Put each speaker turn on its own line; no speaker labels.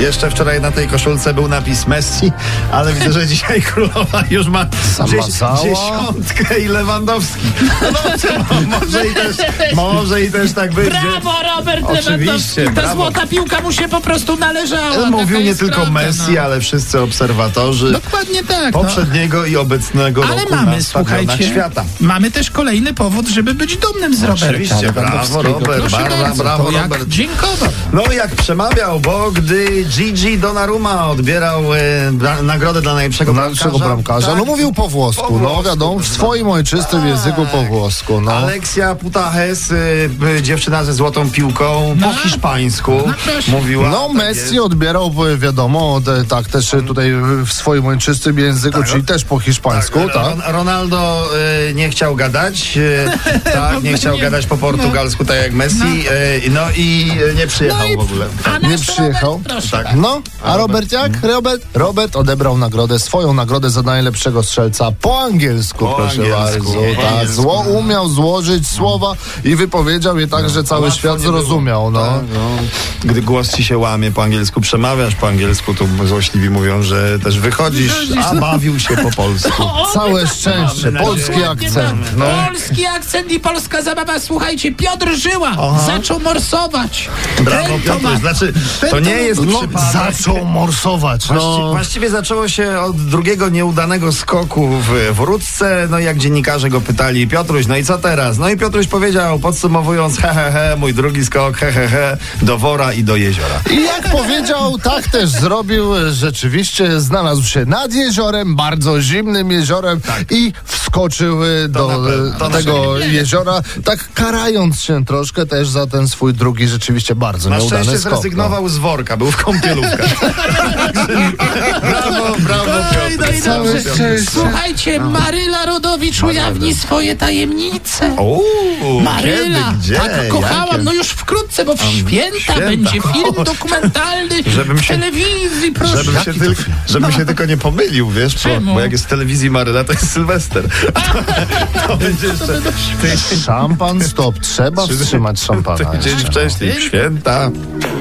Jeszcze wczoraj na tej koszulce był napis Messi, ale widzę, że dzisiaj królowa już ma
Zamazała?
dziesią- dziesiątkę i Lewandowski. No, dobrze, no, może, i też, może i też tak będzie.
Brawo, Robert
Oczywiście,
Lewandowski! Ta
brawo.
złota piłka mu się po prostu należała.
Mówił
Taka
nie
jest
tylko
prawda,
Messi,
no.
ale wszyscy obserwatorzy
Dokładnie tak. no.
poprzedniego i obecnego
Ale
roku na
mamy,
stadionach
słuchajcie,
świata.
mamy też kolejny powód, żeby być dumnym z Roberta
Oczywiście, brawo
Lewandowskiego.
Robert,
Proszę
Barbara,
bardzo,
brawo
to jak
Robert.
Dziękował.
No jak przemawiał, bo gdy Gigi Donnarumma odbierał e, bra- nagrodę dla najlepszego
Dla
bramkarza,
naszego bramkarza.
tak,
No mówił po włosku,
Po
no
włosku,
wiadomo, w
tak.
swoim ojczystym języku po włosku, no.
Aleksia Putahes, y, y, dziewczyna ze złotą piłką,
No.
po hiszpańsku
No proszę.
mówiła.
No
tak
Messi
jest. Mhm.
odbierał, bo wiadomo, te, tak też y, tutaj y, w swoim ojczystym języku, czyli też po hiszpańsku,
Tak,
tak?
Ron- Ronaldo y, nie chciał gadać, y, tak, nie chciał
No, nie.
gadać po portugalsku, tak jak Messi, y, no i y, nie przyjechał
No i-
w ogóle.
A
Nie
nasz
przyjechał.
Robert, proszę.
Tak.
No, a Robert jak?
Mhm.
Robert? Robert odebrał nagrodę, swoją nagrodę za najlepszego strzelca po angielsku,
Po
proszę
angielsku,
bardzo.
po
Tak,
angielsku.
zło umiał złożyć słowa i wypowiedział je tak, że cały
No, Łatwo
świat
nie było.
zrozumiał, no.
Tak, no. Gdy głos ci się łamie, po angielsku przemawiasz po angielsku, to złośliwi mówią, że też wychodzisz, a
no.
bawił się po polsku.
O, o,
Całe
tak,
szczęście,
mamy
polski
nadzieję.
Dokładnie tak.
akcent, no.
Polski akcent i polska zabawa. Słuchajcie, Piotr Żyła zaczął morsować.
Brawo
Ten
Piotr,
Tomasz.
znaczy to
Ten
nie jest tak.
No,
przypadek.
zaczął morsować,
Właści-
no.
Właściwie zaczęło się od drugiego nieudanego skoku w, w Rudce, no jak dziennikarze go pytali, Piotruś, no i co teraz? No i Piotruś powiedział, podsumowując, he, he, he mój drugi skok, he, he, he, do wora i do jeziora.
I jak powiedział, tak też zrobił. Rzeczywiście znalazł się nad jeziorem, bardzo zimnym jeziorem i wskoczył y, do
na pewno,
y,
Tak. to na
tego jeziora, tak karając się troszkę też za ten swój drugi rzeczywiście bardzo
Na
nieudany
szczęście
skok. no.
zrezygnował z worka, był w kąpielówkach. brawo, brawo
Oj, no i
Piotr.
Całe
dobrze.
szczęście.
Słuchajcie, Maryla Rodowicz ujawni swoje tajemnice.
Uuu, kiedy,
Maryla,
gdzie?
tak kochałam,
Jakie?
no już wkrótce, bo w święta,
święta.
będzie film dokumentalny
Żebym
w
się-
telewizji, proszę.
Żebym się,
Jaki
tylko, żebym się tylko nie pomylił, wiesz, bo,
Czemu?
bo jak jest w telewizji Maryla, to jest Sylwester. To, to będzie jeszcze ty,
Szampan, stop, trzeba wstrzymać szampana.
ty dzień
jeszcze. no.
wcześniej. Święta.
to-